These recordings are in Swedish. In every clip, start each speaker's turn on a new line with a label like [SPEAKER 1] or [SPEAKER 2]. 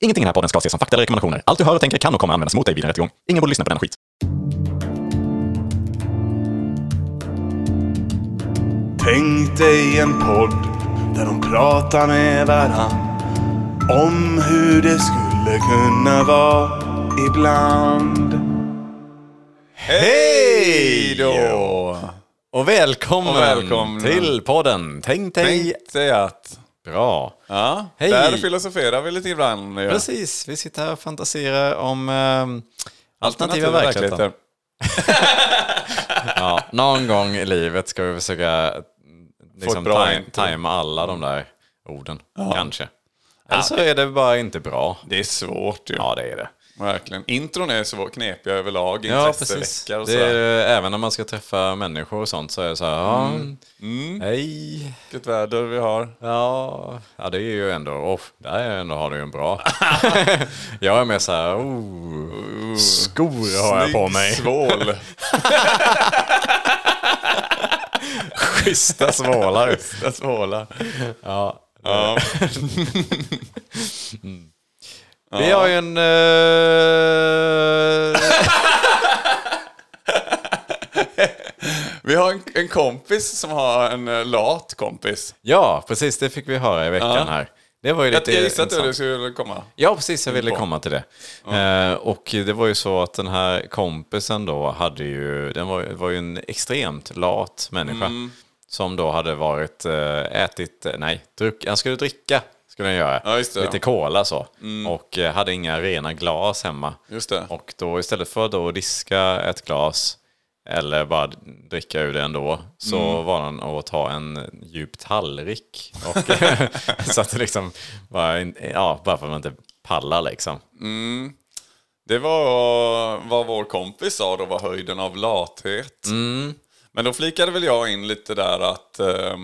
[SPEAKER 1] Ingenting i den här podden ska ses som fakta eller rekommendationer. Allt du hör och tänker kan och kommer användas mot dig vid en rättegång. Ingen borde lyssna på den skit.
[SPEAKER 2] Tänk dig en podd där de pratar med varann om hur det skulle kunna vara ibland.
[SPEAKER 3] Hej då! Och välkommen,
[SPEAKER 4] Och välkomna.
[SPEAKER 3] till podden Tänk dig...
[SPEAKER 4] Tänk dig att...
[SPEAKER 3] Bra.
[SPEAKER 4] Ja,
[SPEAKER 3] Hej.
[SPEAKER 4] där filosoferar vi lite ibland. Ja.
[SPEAKER 3] Precis, vi sitter här och fantiserar om ehm, alternativa verkligheten.
[SPEAKER 4] verkligheten.
[SPEAKER 3] Ja, någon gång i livet ska vi försöka liksom,
[SPEAKER 4] bra
[SPEAKER 3] taj-
[SPEAKER 4] intro.
[SPEAKER 3] tajma alla de där orden. Kanske. Eller så är det bara inte bra.
[SPEAKER 4] Det är svårt ju.
[SPEAKER 3] Ja, det är det.
[SPEAKER 4] Verkligen. Intron är så knepiga överlag.
[SPEAKER 3] Ja, precis.
[SPEAKER 4] Intresseveckor och
[SPEAKER 3] Det
[SPEAKER 4] sådär. Mm.
[SPEAKER 3] är, även när man ska träffa människor och sånt så är det så här, ja, hej,
[SPEAKER 4] Vilket väder vi har.
[SPEAKER 3] Ja, ja det är ju ändå, oh, där är ändå har du ju en bra. jag är mer så här, oh, skor har jag på mig.
[SPEAKER 4] svål.
[SPEAKER 3] Schyssta svålar.
[SPEAKER 4] Schyssta svålar.
[SPEAKER 3] Ja. Mm.
[SPEAKER 4] Ja.
[SPEAKER 3] Vi har ju en... eh,
[SPEAKER 4] Vi har en, en kompis som har en eh, lat kompis.
[SPEAKER 3] ja, precis, det fick vi höra i veckan
[SPEAKER 4] Ja.
[SPEAKER 3] här. Det var ju
[SPEAKER 4] Jag
[SPEAKER 3] lite
[SPEAKER 4] jag gissade att
[SPEAKER 3] intressant.
[SPEAKER 4] du skulle komma.
[SPEAKER 3] Ja, precis. Jag ville komma till det. Eh, och det var ju så att den här kompisen då hade ju, den var, var ju en extremt lat människa.
[SPEAKER 4] Mm.
[SPEAKER 3] Som då hade varit, eh, ätit, eh, nej, druck, han skulle dricka. Skulle han göra.
[SPEAKER 4] Ja, just det.
[SPEAKER 3] Lite cola så. Och eh, hade inga rena glas hemma.
[SPEAKER 4] Just det.
[SPEAKER 3] Och då istället för då att diska ett glas eller bara dricka ur det ändå så
[SPEAKER 4] Mm.
[SPEAKER 3] var han att ta en djup tallrik. Och så att det liksom bara, in- ja, bara för att man inte pallar liksom.
[SPEAKER 4] Det var vad vår kompis sa då var höjden av lathet. Men då flikade väl jag in lite där att... Eh,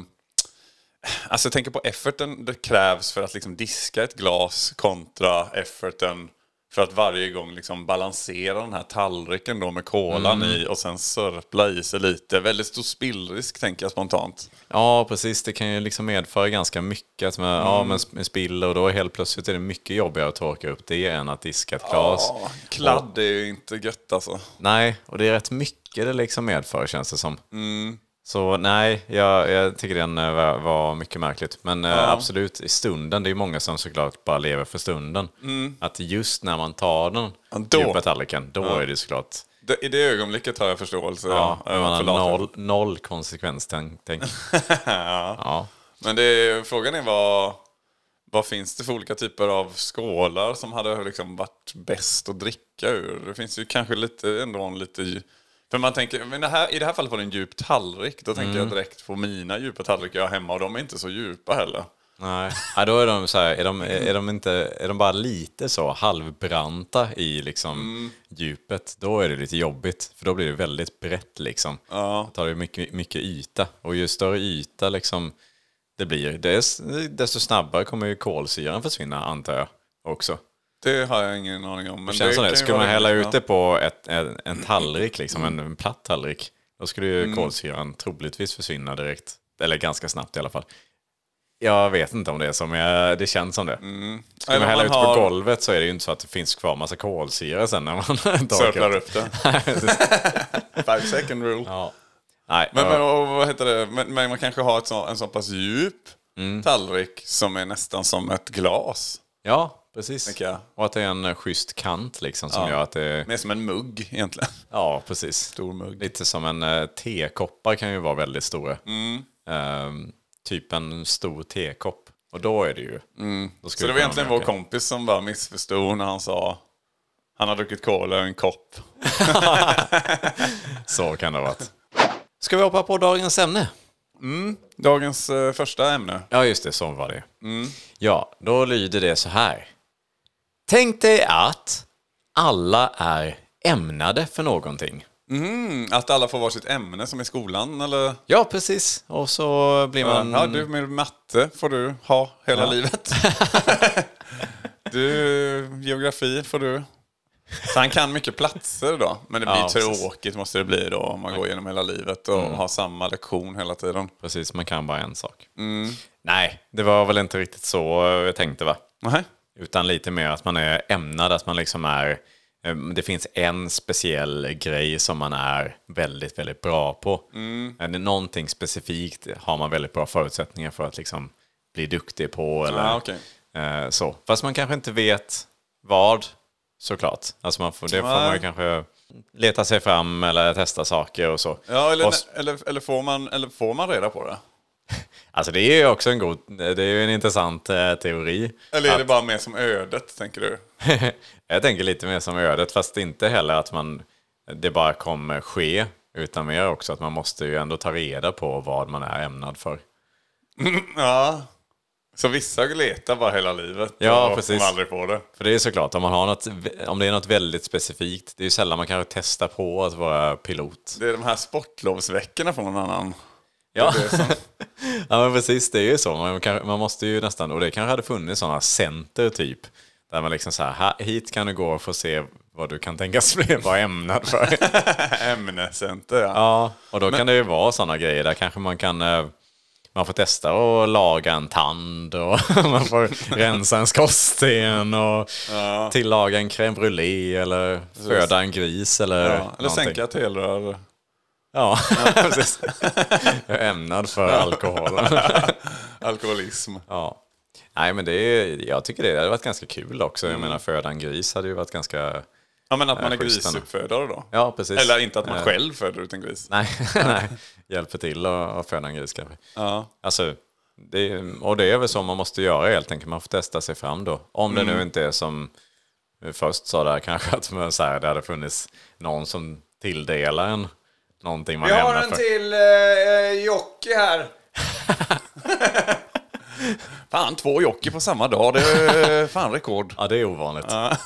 [SPEAKER 4] alltså jag tänker på efforten det krävs för att liksom diska ett glas kontra efforten för att varje gång liksom balansera den här tallriken då med kolan i och sen sörpla i sig lite. Väldigt stor spillrisk tänker jag spontant.
[SPEAKER 3] Ja, precis. Det kan ju liksom medföra ganska mycket. Att man,
[SPEAKER 4] Mm.
[SPEAKER 3] ja, men sp- spiller och då helt plötsligt är det mycket jobbigare att torka upp det än att diska ett glas.
[SPEAKER 4] Ja, kladd är ju inte gött alltså.
[SPEAKER 3] Nej, och det är rätt mycket det liksom medför känns det som.
[SPEAKER 4] Mm.
[SPEAKER 3] Så nej, jag, jag tycker den eh, var, var mycket märkligt. Men eh, absolut, i stunden, det är ju många som såklart bara lever för stunden. Att just när man tar den
[SPEAKER 4] Mm. då.
[SPEAKER 3] djupa tallriken, då är det såklart...
[SPEAKER 4] Det, I det ögonblicket har jag förståelse.
[SPEAKER 3] Ja,
[SPEAKER 4] eh,
[SPEAKER 3] man har
[SPEAKER 4] för latheten.
[SPEAKER 3] noll, noll konsekvenstänk. tänk. ja.
[SPEAKER 4] Men det är, frågan är vad, vad finns det för olika typer av skålar som hade liksom varit bäst att dricka ur? Det finns ju kanske lite, ändå en lite... dj- För man tänker, men det här, i det här fallet var det en djup tallrik. Då tänker jag
[SPEAKER 3] Mm.
[SPEAKER 4] direkt på mina djupa tallrikar jag har hemma och de är inte så djupa heller.
[SPEAKER 3] Nej, ja, då är de så här, är de, är de inte, är de bara lite så halvbranta i liksom djupet, då är det lite jobbigt. För då blir det väldigt brett liksom. Då tar det mycket, mycket yta. Och ju större yta liksom det blir, des, desto snabbare kommer ju kolsyran försvinna antar jag också.
[SPEAKER 4] Det har jag ingen aning om. Men
[SPEAKER 3] Det känns som
[SPEAKER 4] kan
[SPEAKER 3] det.
[SPEAKER 4] ju
[SPEAKER 3] Skulle
[SPEAKER 4] vara
[SPEAKER 3] man hälla
[SPEAKER 4] rimligt,
[SPEAKER 3] ut det på ett, en, en tallrik, liksom, en, en platt tallrik, då skulle ju
[SPEAKER 4] Mm.
[SPEAKER 3] kolsyran troligtvis försvinna direkt. Eller ganska snabbt i alla fall. Jag vet inte om det är så, men jag, det känns som det. Skulle
[SPEAKER 4] Eller
[SPEAKER 3] man
[SPEAKER 4] om
[SPEAKER 3] hälla
[SPEAKER 4] Mm. man
[SPEAKER 3] ut
[SPEAKER 4] har-
[SPEAKER 3] på golvet så är det ju inte så att det finns kvar massa kolsyra sen när man
[SPEAKER 4] ja.
[SPEAKER 3] torkar
[SPEAKER 4] Sörplar
[SPEAKER 3] upp.
[SPEAKER 4] upp det. Five second rule.
[SPEAKER 3] Ja. Nej,
[SPEAKER 4] Men,
[SPEAKER 3] jag-
[SPEAKER 4] men och, vad heter det? Men, men man kanske har ett så, en så pass djup Mm. tallrik som är nästan som ett glas.
[SPEAKER 3] ja, precis.
[SPEAKER 4] Tänker jag.
[SPEAKER 3] Och att det är en schysst kant liksom som gör att det...
[SPEAKER 4] Mer som en mugg egentligen.
[SPEAKER 3] Ja, precis.
[SPEAKER 4] Stor mugg.
[SPEAKER 3] Lite som en eh, tekoppar kan ju vara väldigt stora. Ehm, typ en stor tekopp. Och då är Mm. det ju... Då
[SPEAKER 4] Så
[SPEAKER 3] skulle
[SPEAKER 4] det var
[SPEAKER 3] kunna
[SPEAKER 4] egentligen
[SPEAKER 3] vara
[SPEAKER 4] vår
[SPEAKER 3] okej.
[SPEAKER 4] kompis som bara missförstod när han sa han har druckit cola ur en kopp.
[SPEAKER 3] Så kan det ha varit. Ska vi hoppa på dagens ämne?
[SPEAKER 4] Dagens eh, första ämne.
[SPEAKER 3] Ja, just det. Mm. Så var det Ja, då lyder det så här. Tänk dig att alla är ämnade för någonting.
[SPEAKER 4] Mm, att alla får varsitt ämne som i skolan eller?
[SPEAKER 3] Ja, precis. Och så blir man...
[SPEAKER 4] Ja, du med matte får du ha hela livet. du, geografi får du. Så han kan mycket platser då. Men det blir
[SPEAKER 3] Ja, precis. Mm.
[SPEAKER 4] tråkigt måste det bli då om man går igenom hela livet och har samma lektion hela tiden.
[SPEAKER 3] Mm. Precis, man kan bara en sak. Nej, det var väl inte riktigt så eh, jag tänkte va?
[SPEAKER 4] Nej.
[SPEAKER 3] Utan lite mer att man är ämnad, att man liksom är... eh, Det finns en speciell grej som man är väldigt, väldigt bra på. Mm. Någonting specifikt har man väldigt bra förutsättningar för att liksom bli duktig på. Eller,
[SPEAKER 4] Ah, okej.
[SPEAKER 3] eh, så. Fast man kanske inte vet vad, såklart. Alltså man får, det får man ju
[SPEAKER 4] Nej.
[SPEAKER 3] kanske leta sig fram eller testa saker och så.
[SPEAKER 4] Ja, eller,
[SPEAKER 3] Och s-
[SPEAKER 4] eller, eller, får man, eller får man reda på det?
[SPEAKER 3] Alltså det är ju också en god, det är ju en intressant eh, teori.
[SPEAKER 4] Eller är
[SPEAKER 3] Att-
[SPEAKER 4] det bara mer som ödet, tänker du?
[SPEAKER 3] jag tänker lite mer som ödet, fast inte heller att man, det bara kommer ske, utan mer också att man måste ju ändå ta reda på vad man är ämnad för.
[SPEAKER 4] Ja. Så vissa letar bara hela livet
[SPEAKER 3] Ja,
[SPEAKER 4] och
[SPEAKER 3] precis.
[SPEAKER 4] kommer aldrig på det.
[SPEAKER 3] För det är såklart, om, man har något, om det är något väldigt specifikt, det är ju sällan man kanske testar på att vara pilot.
[SPEAKER 4] Det är de här sportlovsveckorna från någon annan.
[SPEAKER 3] Ja,
[SPEAKER 4] Det är som,
[SPEAKER 3] ja men precis, det är ju så. Man, kan, man måste ju nästan, och det kanske hade funnits sådana center typ, där man liksom så här, här, hit kan du gå och få se vad du kan tänkas bli, vara ämnad för.
[SPEAKER 4] ämnescenter, ja.
[SPEAKER 3] Ja, och då kan det ju vara sådana grejer där kanske man kan eh, man får testa att laga en tand och man får rensa en skorsten och tillaga en crème brûlée eller föda en gris eller
[SPEAKER 4] ja. Eller
[SPEAKER 3] någonting.
[SPEAKER 4] sänka ett elrör.
[SPEAKER 3] Ja, precis. Jag är ämnad för alkohol.
[SPEAKER 4] Alkoholism.
[SPEAKER 3] ja. Nej, men det är, jag tycker det hade varit ganska kul också.
[SPEAKER 4] Mm.
[SPEAKER 3] Jag menar, föda en gris hade ju varit ganska...
[SPEAKER 4] Ja, men att man
[SPEAKER 3] Ja,
[SPEAKER 4] är
[SPEAKER 3] schysst ändå.
[SPEAKER 4] grisuppfödare då.
[SPEAKER 3] Ja, precis.
[SPEAKER 4] Eller inte att man
[SPEAKER 3] Eh,
[SPEAKER 4] själv föder ut en gris.
[SPEAKER 3] Nej, nej. Hjälper till att att föda en gris kanske.
[SPEAKER 4] Ja.
[SPEAKER 3] Alltså, det, och det är väl så man måste göra helt enkelt. Man får testa sig fram då. Om det nu inte är som vi först sa där kanske, att man, så här, det hade funnits någon som tilldelar en någonting man ämnar för.
[SPEAKER 4] till eh, jockey här. fan, två jockey på samma dag. Det är fan rekord.
[SPEAKER 3] Ja, det är ovanligt. Ja.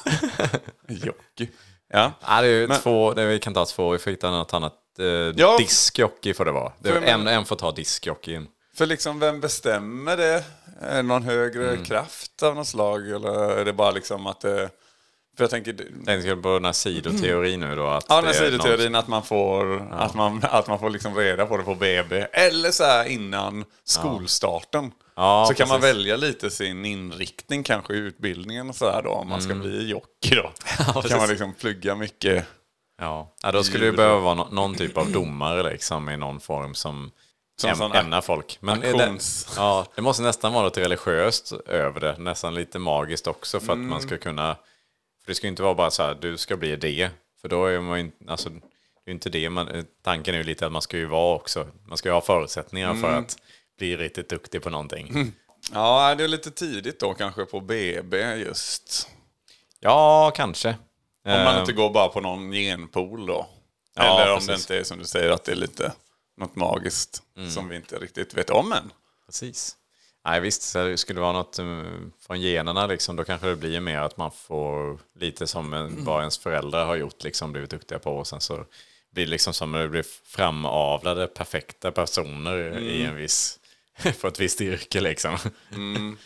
[SPEAKER 4] jockey. Ja.
[SPEAKER 3] det är ju två, det, vi kan ta två, vi får hitta något annat. Eh,
[SPEAKER 4] Ja.
[SPEAKER 3] Diskjockey får det vara. Det,
[SPEAKER 4] För jag
[SPEAKER 3] en, en får ta diskjockeyn.
[SPEAKER 4] För liksom, vem bestämmer det? Är det någon högre
[SPEAKER 3] Mm.
[SPEAKER 4] kraft av något slag? Eller är det bara liksom att det... För jag tänker... det-
[SPEAKER 3] Jag tänkte på den här sidoteorin nu då. Att
[SPEAKER 4] Ja, den
[SPEAKER 3] det
[SPEAKER 4] här
[SPEAKER 3] är
[SPEAKER 4] sidoteorin att man får, att man, att man får liksom reda på det på BB. Eller så här innan skolstarten.
[SPEAKER 3] Ja,
[SPEAKER 4] så kan man
[SPEAKER 3] precis.
[SPEAKER 4] välja lite sin inriktning kanske i utbildningen och så här då. Om man ska bli jockey då. då
[SPEAKER 3] Mm. precis.
[SPEAKER 4] kan man liksom plugga mycket.
[SPEAKER 3] Ja. ja, då skulle det ju behöva vara nå- någon typ av domare liksom i någon form som,
[SPEAKER 4] Som
[SPEAKER 3] äm,
[SPEAKER 4] sån ak-
[SPEAKER 3] ämnar folk. Men är
[SPEAKER 4] aktions-
[SPEAKER 3] det, ja, det måste nästan vara något religiöst över det, nästan lite magiskt också för att man
[SPEAKER 4] Mm.
[SPEAKER 3] ska kunna... För det ska ju inte vara bara så här, du ska bli det, för då är man ju inte... Alltså, det är ju inte det man, eh, tanken är ju lite att man ska ju vara också, man ska ju ha förutsättningar för
[SPEAKER 4] Mm.
[SPEAKER 3] att bli riktigt duktig på någonting.
[SPEAKER 4] Ja, det är lite tidigt då kanske på BB just.
[SPEAKER 3] Ja, kanske.
[SPEAKER 4] Om man
[SPEAKER 3] Eh,
[SPEAKER 4] inte går bara på någon genpool då.
[SPEAKER 3] Ja,
[SPEAKER 4] Eller om det
[SPEAKER 3] precis. Mm.
[SPEAKER 4] inte är som du säger att det är lite något magiskt som vi inte riktigt vet om än.
[SPEAKER 3] Precis. Nej visst, så det skulle det vara något eh, från generna liksom, då kanske det blir mer att man får lite som en, vad ens föräldrar har gjort, liksom blivit duktiga på och sen så blir det liksom som när det blir framavlade perfekta personer i en viss, för ett visst yrke liksom.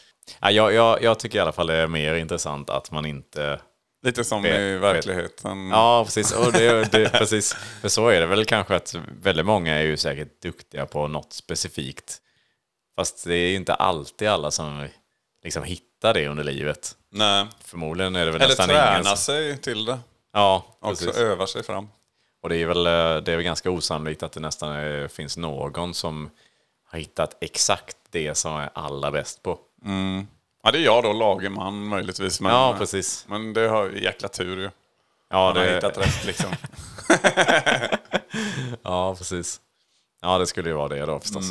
[SPEAKER 3] Ja, jag, jag, jag tycker i alla fall det är mer intressant att man inte
[SPEAKER 4] Lite som
[SPEAKER 3] Vet-
[SPEAKER 4] i
[SPEAKER 3] vet-
[SPEAKER 4] verkligheten.
[SPEAKER 3] Ja, precis. Och det, det, precis. För så är det väl kanske att väldigt många är ju säkert duktiga på något specifikt. Fast det är ju inte alltid alla som liksom hittar det under livet.
[SPEAKER 4] Nej.
[SPEAKER 3] Förmodligen är det väl
[SPEAKER 4] Eller
[SPEAKER 3] nästan
[SPEAKER 4] träna
[SPEAKER 3] ingen som...
[SPEAKER 4] sig till det.
[SPEAKER 3] Ja,
[SPEAKER 4] Också
[SPEAKER 3] precis.
[SPEAKER 4] öva sig fram.
[SPEAKER 3] Och det är, väl, eh, det är väl ganska osannolikt att det nästan eh, finns någon som har hittat exakt det som är allra bäst på.
[SPEAKER 4] Ja, det är jag då, lagerman möjligtvis. Men,
[SPEAKER 3] Ja, precis.
[SPEAKER 4] men det har ju jäkla tur ju.
[SPEAKER 3] Ja,
[SPEAKER 4] Man har
[SPEAKER 3] det-
[SPEAKER 4] hittat rätt liksom.
[SPEAKER 3] Ja, precis. Ja, det skulle ju vara det då
[SPEAKER 4] Mm.
[SPEAKER 3] förstås.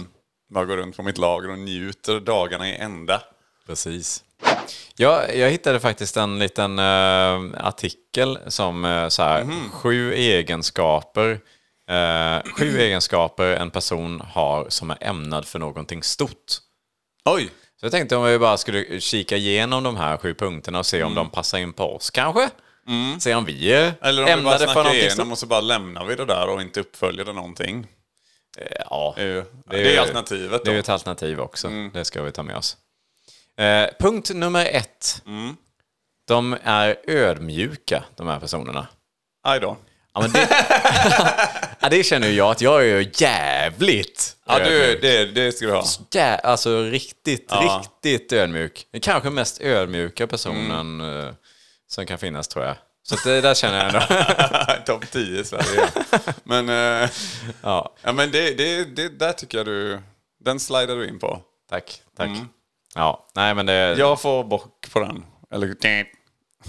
[SPEAKER 4] Bara går runt på mitt lager och njuter dagarna i ända.
[SPEAKER 3] Precis. Jag, jag hittade faktiskt en liten eh, artikel som eh, så här,
[SPEAKER 4] Mhm.
[SPEAKER 3] sju egenskaper eh, sju egenskaper en person har som är ämnad för någonting stort.
[SPEAKER 4] Oj!
[SPEAKER 3] Så jag tänkte om vi bara skulle kika igenom de här sju punkterna och se om de passar in på oss kanske. Se om vi är
[SPEAKER 4] Mm. Eller om vi bara
[SPEAKER 3] ämnade för
[SPEAKER 4] snackar
[SPEAKER 3] någonting
[SPEAKER 4] igenom
[SPEAKER 3] stort.
[SPEAKER 4] och så bara lämnar vi det där och inte uppföljer det någonting.
[SPEAKER 3] Eh, Ja,
[SPEAKER 4] Det är, ju, det
[SPEAKER 3] ju-
[SPEAKER 4] är, alternativet
[SPEAKER 3] Det
[SPEAKER 4] då. Mm.
[SPEAKER 3] är ju ett alternativ också. Det ska vi ta med oss. Eh, punkt nummer
[SPEAKER 4] Mm.
[SPEAKER 3] ett. De är ödmjuka, de här personerna.
[SPEAKER 4] Aj då.
[SPEAKER 3] Ja, men det, ja, det känner ju jag att jag är jävligt
[SPEAKER 4] Ja, du,
[SPEAKER 3] ödmjuk.
[SPEAKER 4] det, det ska du ha.
[SPEAKER 3] Jä, alltså riktigt,
[SPEAKER 4] Ja.
[SPEAKER 3] riktigt ödmjuk. Den kanske mest ödmjuka personen
[SPEAKER 4] Mm.
[SPEAKER 3] eh, som kan finnas tror jag. Så att det där känner jag ändå.
[SPEAKER 4] Topp 10 i Sverige. Men, eh,
[SPEAKER 3] Ja,
[SPEAKER 4] ja, men det, det, det där tycker jag du... Den slidar du in på.
[SPEAKER 3] tack, tack. Ja, nej men det...
[SPEAKER 4] Mm. Jag får bock på den. Eller...
[SPEAKER 3] Okej,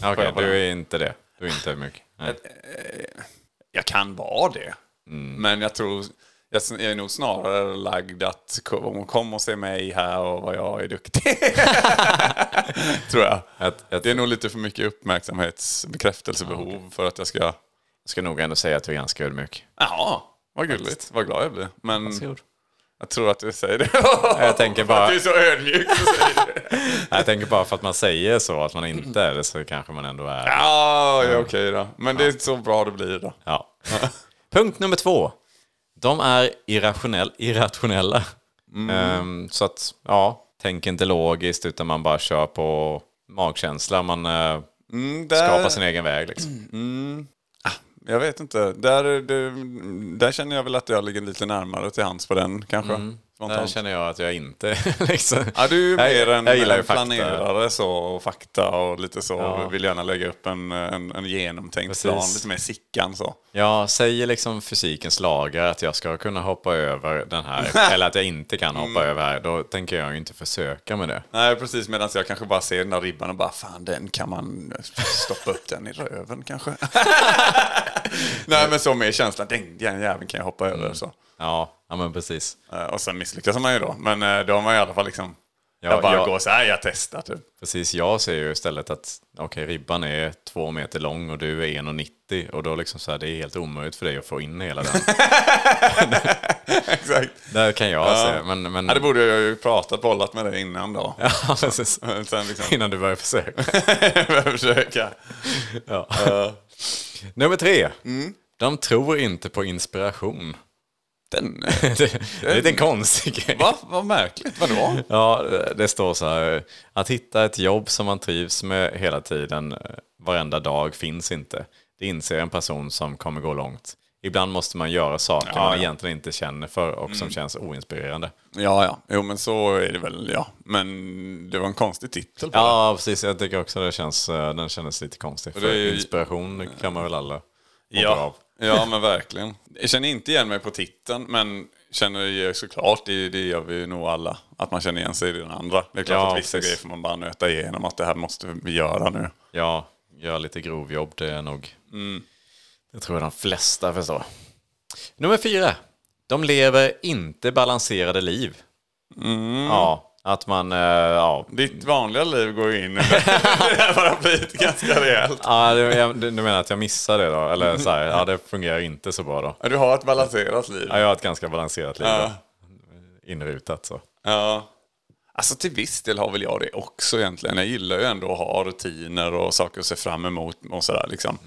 [SPEAKER 4] jag-
[SPEAKER 3] du är inte det. Du är inte ödmjuk. Nej.
[SPEAKER 4] Jag kan vara det. Men jag tror... Jag s- jag är nog snarare lagd att kom, kom och se mig här och vad jag är duktig. tror jag.
[SPEAKER 3] Ett- ett-
[SPEAKER 4] Det är nog lite för mycket uppmärksamhetsbekräftelsebehov för att jag ska...
[SPEAKER 3] Jag ska nog ändå säga att du är ganska ödmjuk.
[SPEAKER 4] Ja, vad gulligt. Vad glad jag blir. Men
[SPEAKER 3] Varsågod.
[SPEAKER 4] jag tror att du säger det.
[SPEAKER 3] Jag tänker
[SPEAKER 4] För att
[SPEAKER 3] bara...
[SPEAKER 4] du är så ödmjuk. så säger du det.
[SPEAKER 3] Jag tänker bara för att man säger så, att man inte är det, så kanske man ändå är.
[SPEAKER 4] Ja, ja okej då. Men det är så bra det blir då.
[SPEAKER 3] Ja. Punkt nummer två. De är irrationell, irrationella.
[SPEAKER 4] Mm.
[SPEAKER 3] Ehm, så att, ja, tänk inte logiskt utan man bara kör på magkänsla. Man eh,
[SPEAKER 4] Mm, där,
[SPEAKER 3] skapar sin egen väg
[SPEAKER 4] Mm.
[SPEAKER 3] liksom.
[SPEAKER 4] Jag vet inte. Där, det, där känner jag väl att jag ligger lite närmare till hands på den kanske.
[SPEAKER 3] Där
[SPEAKER 4] Spontant.
[SPEAKER 3] känner jag att jag inte liksom.
[SPEAKER 4] Ja, du är
[SPEAKER 3] Jag-
[SPEAKER 4] mer en,
[SPEAKER 3] jag gillar ju
[SPEAKER 4] en
[SPEAKER 3] fakta.
[SPEAKER 4] planerare så, och fakta och lite så.
[SPEAKER 3] Ja.
[SPEAKER 4] Vill gärna lägga upp en, en, en genomtänkt
[SPEAKER 3] Precis.
[SPEAKER 4] plan. Lite mer Sickan så.
[SPEAKER 3] Jag säger liksom fysikens lagar att jag ska kunna hoppa över den här, eller att jag inte kan hoppa
[SPEAKER 4] Mm.
[SPEAKER 3] över här. Då tänker jag ju inte försöka med det.
[SPEAKER 4] Nej, precis. Medan jag kanske bara ser den där ribban och bara fan, den kan man stoppa upp den i röven kanske. Nej, men så mer känslan. Den, den jäveln kan jag hoppa
[SPEAKER 3] Mm.
[SPEAKER 4] över. Så.
[SPEAKER 3] Ja, ja men precis.
[SPEAKER 4] Eh, Och sen misslyckas man ju då. Men eh, då har man i alla fall liksom...
[SPEAKER 3] Ja,
[SPEAKER 4] jag bara
[SPEAKER 3] ja.
[SPEAKER 4] går så här, jag testar typ.
[SPEAKER 3] Precis, jag ser ju istället att okej, ribban är två meter lång och du är 1,90 och då liksom så här, det är helt omöjligt för dig att få in hela den.
[SPEAKER 4] Exakt.
[SPEAKER 3] Där kan jag se, men... men...
[SPEAKER 4] Ja, det borde jag ju pratat, bollat med dig innan då.
[SPEAKER 3] Ja, precis.
[SPEAKER 4] Sen liksom,
[SPEAKER 3] Innan du börjar försöka.
[SPEAKER 4] försöka.
[SPEAKER 3] Ja. Nummer tre.
[SPEAKER 4] Mm.
[SPEAKER 3] De tror inte på inspiration.
[SPEAKER 4] Den...
[SPEAKER 3] Det, det är lite en konstig grej.
[SPEAKER 4] Va? Vad märkligt. Vadå?
[SPEAKER 3] Ja, det står så här. Att hitta ett jobb som man trivs med hela tiden, eh, varenda dag, finns inte. Det inser en person som kommer gå långt. Ibland måste man göra saker
[SPEAKER 4] Ja, Mm.
[SPEAKER 3] man
[SPEAKER 4] ja.
[SPEAKER 3] egentligen inte känner för och som känns oinspirerande.
[SPEAKER 4] Ja, ja. Jo, men så är det väl, ja. Men det var en konstig titel på det.
[SPEAKER 3] Ja, precis. Jag tycker också det känns, eh, den kändes lite konstig. För
[SPEAKER 4] det är ju-
[SPEAKER 3] inspiration kan man väl alla må bra
[SPEAKER 4] Ja,
[SPEAKER 3] av.
[SPEAKER 4] ja men verkligen. Jag känner inte igen mig på titeln, men känner ju såklart, det, det gör vi ju nog alla, att man känner igen sig i den andra. Det är klart
[SPEAKER 3] Ja,
[SPEAKER 4] att vissa
[SPEAKER 3] precis.
[SPEAKER 4] grejer får man bara nöta igenom, att det här måste vi göra nu.
[SPEAKER 3] Ja, gör lite grovjobb, det är nog... Det tror jag de flesta förstår. Nummer fyra. De lever inte balanserade liv. Ja, att man... eh, Ja,
[SPEAKER 4] Ditt vanliga liv går ju in i det här paraplyet ganska rejält.
[SPEAKER 3] ja du, jag, du du menar att jag missar det då? Eller så här, ja det fungerar inte så bra då.
[SPEAKER 4] Ja, Du har ett balanserat liv.
[SPEAKER 3] Ja, jag har ett ganska balanserat liv
[SPEAKER 4] Ja.
[SPEAKER 3] då. Inrutat så.
[SPEAKER 4] Ja. Alltså till viss del har väl jag det också egentligen. Jag gillar ju ändå att ha rutiner och saker att se fram emot och sådär liksom.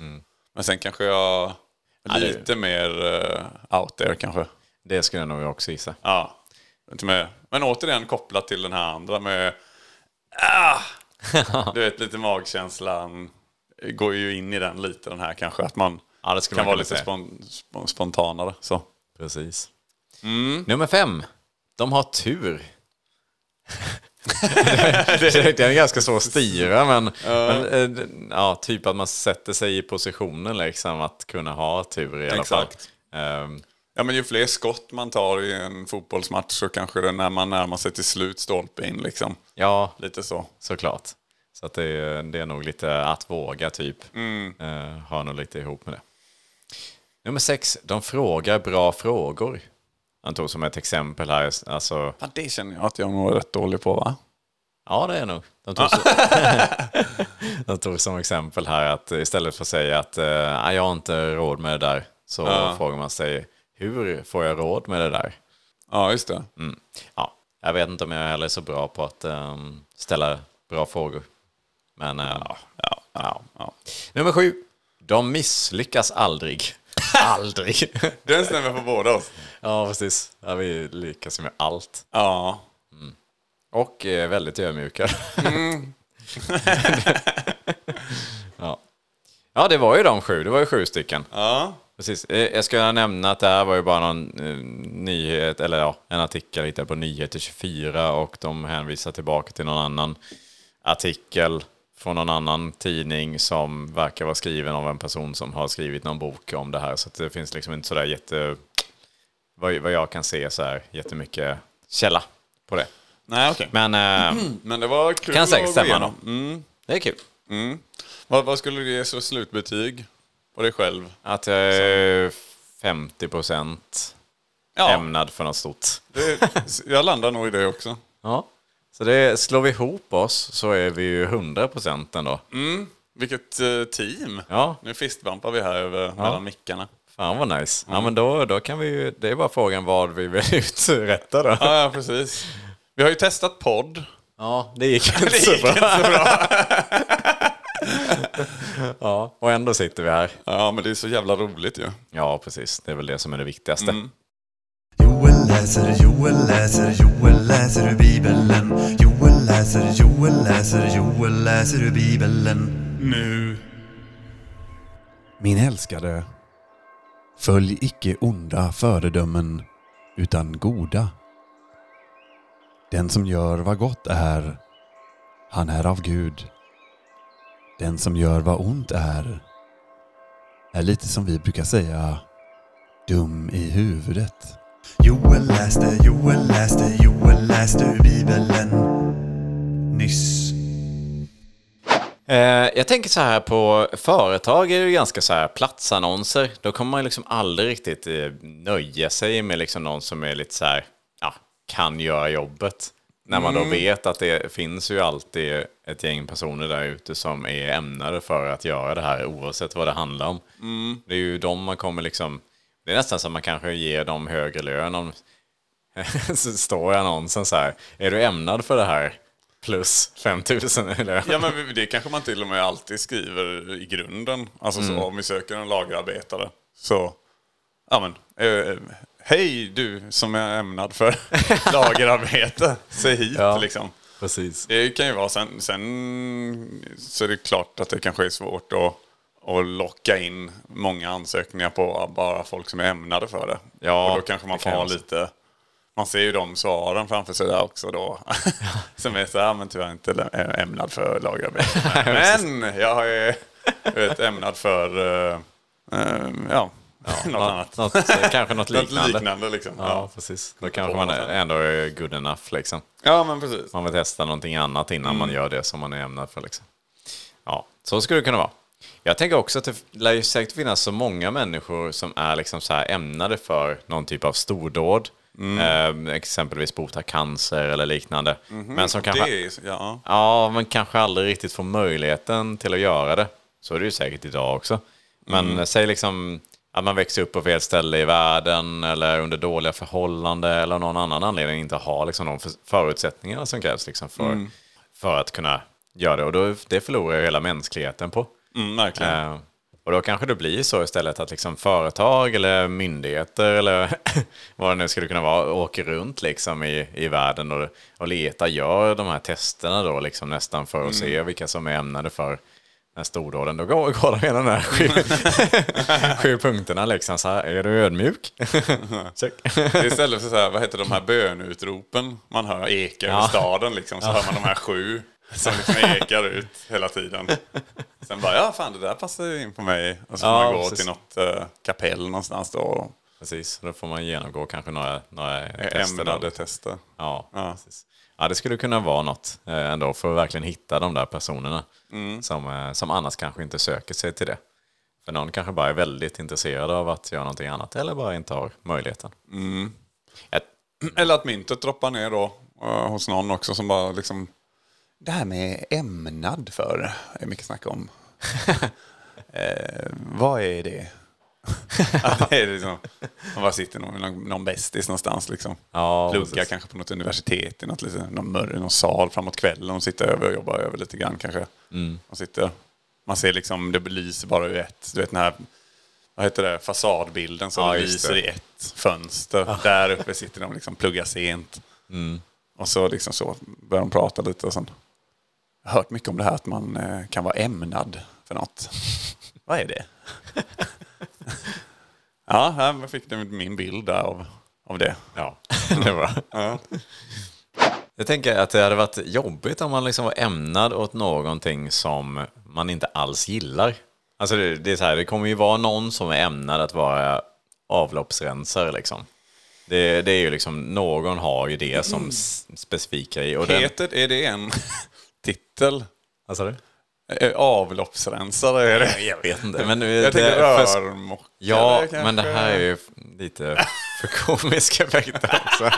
[SPEAKER 4] Men sen kanske jag är
[SPEAKER 3] Mm. det-
[SPEAKER 4] lite mer eh, out there kanske.
[SPEAKER 3] Det skulle jag nog också gissa.
[SPEAKER 4] Ja. Inte med. Men återigen kopplat till den här andra med... Ah! Du vet, lite magkänslan går ju in i den lite den här kanske. Att man
[SPEAKER 3] Ja, det skulle
[SPEAKER 4] kan
[SPEAKER 3] man
[SPEAKER 4] vara
[SPEAKER 3] kunna
[SPEAKER 4] lite
[SPEAKER 3] säga.
[SPEAKER 4] spon, spon, spontanare. Så.
[SPEAKER 3] Precis. Nummer fem. De har tur. det det är ganska svår att styra, men, men eh, d- ja, typ att man sätter sig i positionen liksom, att kunna ha tur i alla
[SPEAKER 4] Exakt.
[SPEAKER 3] fall. Ehm,
[SPEAKER 4] Ja, men ju fler skott man tar i en fotbollsmatch så kanske det när man närmar sig till slut stolpe in liksom.
[SPEAKER 3] ja,
[SPEAKER 4] Lite så.
[SPEAKER 3] såklart. Så att det, är, det är nog lite att våga, typ. Eh, har nog lite ihop med det. Nummer sex. De frågar bra frågor. Han tog som ett exempel här, alltså
[SPEAKER 4] Fan, det känner jag att jag nog är rätt dålig på va?
[SPEAKER 3] Ja, det är nog. De tog, så... de tog som exempel här att istället för att säga att eh, "Nej, jag har inte råd med det där så frågar man sig hur får jag råd med det där?
[SPEAKER 4] Ja, just det.
[SPEAKER 3] Mm. Ja, jag vet inte om jag heller är så bra på att ehm, ställa bra frågor. Men eh, ja, ja, Nummer sju. De misslyckas aldrig. aldrig.
[SPEAKER 4] Den stämmer på båda oss.
[SPEAKER 3] ja, precis. Ja, vi lyckas med allt.
[SPEAKER 4] Ja.
[SPEAKER 3] Och är väldigt ödmjuka. ja. ja, det var ju de sju. Det var ju sju stycken.
[SPEAKER 4] Ja.
[SPEAKER 3] Precis. Eh, Jag ska nämna att det här var ju bara någon eh, nyhet, eller ja, en artikel jag hittade på Nyheter 24 och de hänvisar tillbaka till någon annan artikel från någon annan tidning som verkar vara skriven av en person som har skrivit någon bok om det här. Så att det finns liksom inte sådär jätte, vad, vad jag kan se så här, jättemycket källa på det.
[SPEAKER 4] Nej, okej.
[SPEAKER 3] Men eh,
[SPEAKER 4] Men det var kul
[SPEAKER 3] kan säkert
[SPEAKER 4] att gå
[SPEAKER 3] stämma.
[SPEAKER 4] igenom. Mm.
[SPEAKER 3] då. Det är kul.
[SPEAKER 4] Vad, vad skulle du ge så slutbetyg på dig själv?
[SPEAKER 3] Att jag är 50 procent
[SPEAKER 4] Ja,
[SPEAKER 3] ämnad för något stort.
[SPEAKER 4] det, jag landar nog i det också.
[SPEAKER 3] Ja. Så det, slår vi ihop oss så är vi ju 100 procent ändå.
[SPEAKER 4] Mm. Vilket eh, team!
[SPEAKER 3] Ja,
[SPEAKER 4] Nu fistbumpar vi här över, mellan mickarna.
[SPEAKER 3] fan vad nice. Ja, men då, då kan vi ju, det är bara frågan vad vi vill uträtta då.
[SPEAKER 4] Ja, ja, precis. Vi har ju testat podd.
[SPEAKER 3] Ja, det gick inte så bra. ja, och ändå sitter vi här.
[SPEAKER 4] Ja, men det är så jävla roligt ju. Mm.
[SPEAKER 3] Ja, precis. Det är väl det som är det viktigaste.
[SPEAKER 5] Joel läser, Joel läser, Joel läser ur Bibeln. Joel läser, Joel läser, Joel läser ur Bibeln.
[SPEAKER 2] Nu.
[SPEAKER 6] Min älskade, följ icke onda föredömen, utan goda. Den som gör vad gott är, han är av Gud. Den som gör vad ont är, är lite som vi brukar säga, dum i huvudet.
[SPEAKER 5] Joel läste, Joel läste, Joel läste ur Bibeln. Nyss.
[SPEAKER 3] Eh, jag tänker så här på företag är det ju ganska så här platsannonser. Då kommer man ju liksom aldrig riktigt eh, nöja sig med liksom någon som är lite så här, ja, kan göra jobbet. När man då vet att det finns ju alltid ett gäng personer där ute som är ämnade för att göra det här oavsett vad det handlar om. Det är ju de man kommer liksom, det är nästan som man kanske ger dem högre lön om så står i annonsen så här, är du ämnad för det här? Plus 5000 i lön.
[SPEAKER 4] Ja, men vi- det kanske man till och med alltid skriver i grunden. Alltså så, om vi söker en lagerarbetare. Så, ja men. Eh, hej du som är ämnad för lagerarbete. Se hit
[SPEAKER 3] Ja.
[SPEAKER 4] liksom.
[SPEAKER 3] Precis.
[SPEAKER 4] Det kan ju vara sen, sen så är det klart att det kanske är svårt att, att locka in många ansökningar på bara folk som är ämnade för det.
[SPEAKER 3] Ja,
[SPEAKER 4] och då kanske man
[SPEAKER 3] det
[SPEAKER 4] får
[SPEAKER 3] kan
[SPEAKER 4] ha
[SPEAKER 3] jag också.
[SPEAKER 4] lite, man ser ju de svaren framför sig där också då. som är så här, "Ah, men tyvärr inte lä- ä- ämnad för lagarbete. men jag är jag vet, ämnad för, eh, eh, ja, något annat.
[SPEAKER 3] Något, eh, kanske något
[SPEAKER 4] Något
[SPEAKER 3] liknande.
[SPEAKER 4] liknande liksom.
[SPEAKER 3] Ja,
[SPEAKER 4] Ja.
[SPEAKER 3] precis. Då kanske man är- ändå är good enough. Liksom.
[SPEAKER 4] ja, men precis.
[SPEAKER 3] Man vill testa någonting annat innan man gör det som man är ämnad för. Liksom. Ja, så skulle det kunna vara. Jag tänker också att det lär ju säkert finnas så många människor som är liksom så här ämnade för någon typ av stordåd. Eh, exempelvis bota cancer eller liknande. Men som kanske
[SPEAKER 4] Det är, ja.
[SPEAKER 3] Ja, men kanske aldrig riktigt får möjligheten till att göra det. Så är det ju säkert idag också. Men säg liksom att man växer upp på fel ställe i världen eller under dåliga förhållanden eller av någon annan anledning inte har liksom de för- förutsättningarna som krävs liksom för, för att kunna göra det. Och då, det förlorar ju hela mänskligheten på.
[SPEAKER 4] Mm, verkligen.
[SPEAKER 3] Eh, och då kanske det blir så istället att liksom företag eller myndigheter eller vad det nu skulle kunna vara åker runt liksom i, i världen och, och letar, gör de här testerna då liksom nästan för att se vilka som är ämnade för den här stordåden. Då går, går de igenom de här sju, sju punkterna liksom. Så här, är du ödmjuk? Check.
[SPEAKER 4] Det är Istället för så här, vad heter de här bönutropen man hör ekar
[SPEAKER 3] Ja.
[SPEAKER 4] i staden liksom, så hör man de här sju som liksom ekar ut hela tiden. Sen bara, ja fan det där passar ju in på mig. Och så får
[SPEAKER 3] Ja,
[SPEAKER 4] man gå
[SPEAKER 3] precis.
[SPEAKER 4] till något eh, kapell någonstans då och
[SPEAKER 3] Precis, då får man genomgå kanske några, några tester. då.
[SPEAKER 4] ämnade tester.
[SPEAKER 3] Ja,
[SPEAKER 4] Ja.
[SPEAKER 3] precis. Ja, det skulle kunna vara något eh, ändå för att verkligen hitta de där personerna som, eh, som annars kanske inte söker sig till det. För någon kanske bara är väldigt intresserad av att göra någonting annat eller bara inte har möjligheten. Ett,
[SPEAKER 4] Eller att myntet droppar ner då eh, hos någon också som bara liksom, det här med ämnad för, är mycket snack om. eh, vad är det? ja, det är liksom, man bara sitter någon, någon, någon bästis någonstans liksom.
[SPEAKER 3] ja,
[SPEAKER 4] Plugga
[SPEAKER 3] precis.
[SPEAKER 4] kanske på något universitet i något, lite, någon, mörr, någon sal framåt kvällen. De sitter över och jobbar över lite grann kanske.
[SPEAKER 3] Mm.
[SPEAKER 4] De sitter, man ser liksom, det belyser bara ur ett. Du vet den här, vad heter det, fasadbilden som
[SPEAKER 3] Ja, just
[SPEAKER 4] lyser
[SPEAKER 3] det. Ah.
[SPEAKER 4] i ett fönster. Där uppe sitter de liksom, pluggar sent.
[SPEAKER 3] Mm.
[SPEAKER 4] Och så liksom så börjar de prata lite och sen. Jag har hört mycket om det här att man eh, kan vara ämnad för något. vad är det? Ja, här fick ni min bild där av, av det.
[SPEAKER 3] Ja, det var Jag tänker att det hade varit jobbigt om man liksom var ämnad åt någonting som man inte alls gillar. Alltså det, det, är så här, det kommer ju vara någon som är ämnad att vara avloppsrensare liksom. Det, det är ju liksom, någon har ju det
[SPEAKER 4] Mm.
[SPEAKER 3] som s- specifik grej. Och den,
[SPEAKER 4] Heter, är det en titel?
[SPEAKER 3] vad sa du?
[SPEAKER 4] Eh, Avloppsrensare är det.
[SPEAKER 3] Jag vet inte. Men,
[SPEAKER 4] Jag tänker
[SPEAKER 3] för-
[SPEAKER 4] rörmokare
[SPEAKER 3] Ja,
[SPEAKER 4] kanske.
[SPEAKER 3] men det här är ju lite för komiska effekter också. ja,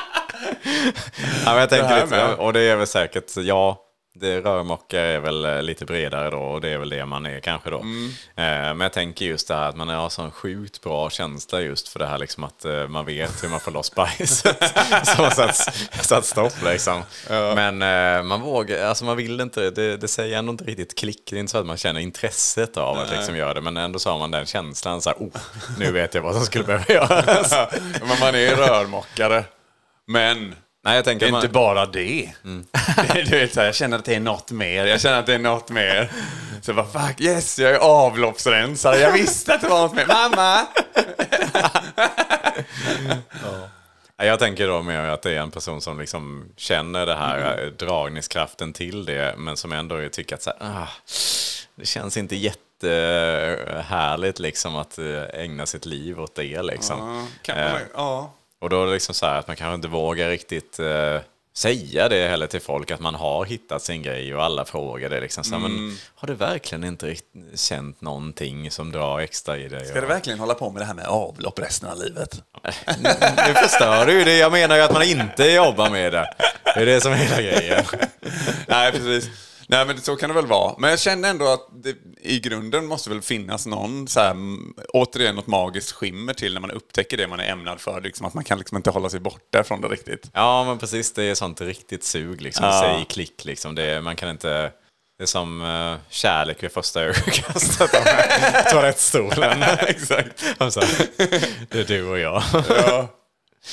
[SPEAKER 3] men jag tänker
[SPEAKER 4] här
[SPEAKER 3] lite,
[SPEAKER 4] med.
[SPEAKER 3] och det är väl säkert, ja, det rörmokare är väl eh, lite bredare då och det är väl det man är kanske då.
[SPEAKER 4] Mm.
[SPEAKER 3] Eh, men jag tänker just det här att man har sån sjukt bra känsla just för det här liksom att eh, man vet hur man får loss bajset. Som har satt, satt stopp liksom. Men eh, man vågar, alltså man vill inte, det, det säger ändå inte riktigt klick. Det är inte så att man känner intresset av att liksom göra det. Men ändå så har man den känslan så här, oh, nu vet jag vad som skulle behöva göras.
[SPEAKER 4] Men man är rörmokare. Men
[SPEAKER 3] Nej, jag
[SPEAKER 4] det
[SPEAKER 3] tänker
[SPEAKER 4] är
[SPEAKER 3] man,
[SPEAKER 4] inte bara det. du vet, så här, jag känner att det är något mer. Jag känner att det är något mer. Så jag bara fuck yes, jag är avloppsrensare. Jag visste att det var något mer. Mamma!
[SPEAKER 3] Nej, jag tänker då mer att det är en person som liksom känner det här eh, dragningskraften till det. Men som ändå tycker att så här, ah, det känns inte jättehärligt liksom att eh, ägna sitt liv åt det liksom.
[SPEAKER 4] Kan
[SPEAKER 3] Eh,
[SPEAKER 4] man, ja.
[SPEAKER 3] Och då är det liksom så här att man kanske inte vågar riktigt eh, säga det heller till folk att man har hittat sin grej och alla frågar det liksom. Så, här, men, har du verkligen inte rikt- känt någonting som drar extra i dig?
[SPEAKER 4] Ska du verkligen hålla på med det här med avlopp resten av livet?
[SPEAKER 3] Nu förstör du ju det. Jag menar ju att man inte jobbar med det. Det är det som är hela grejen.
[SPEAKER 4] Nej, precis. Nej, men så kan det väl vara. Men jag känner ändå att det, i grunden måste väl finnas någon, så här, m- återigen något magiskt skimmer till när man upptäcker det man är ämnad för. Liksom, att man kan liksom inte hålla sig borta från det riktigt.
[SPEAKER 3] Ja, men precis. Det är sånt riktigt sug liksom.
[SPEAKER 4] Ja.
[SPEAKER 3] Säg klick liksom. Det, är- man kan inte... Det är som eh, kärlek vid första ögonkastet. av Toalettstolen. Exakt. Alltså, det är du och jag.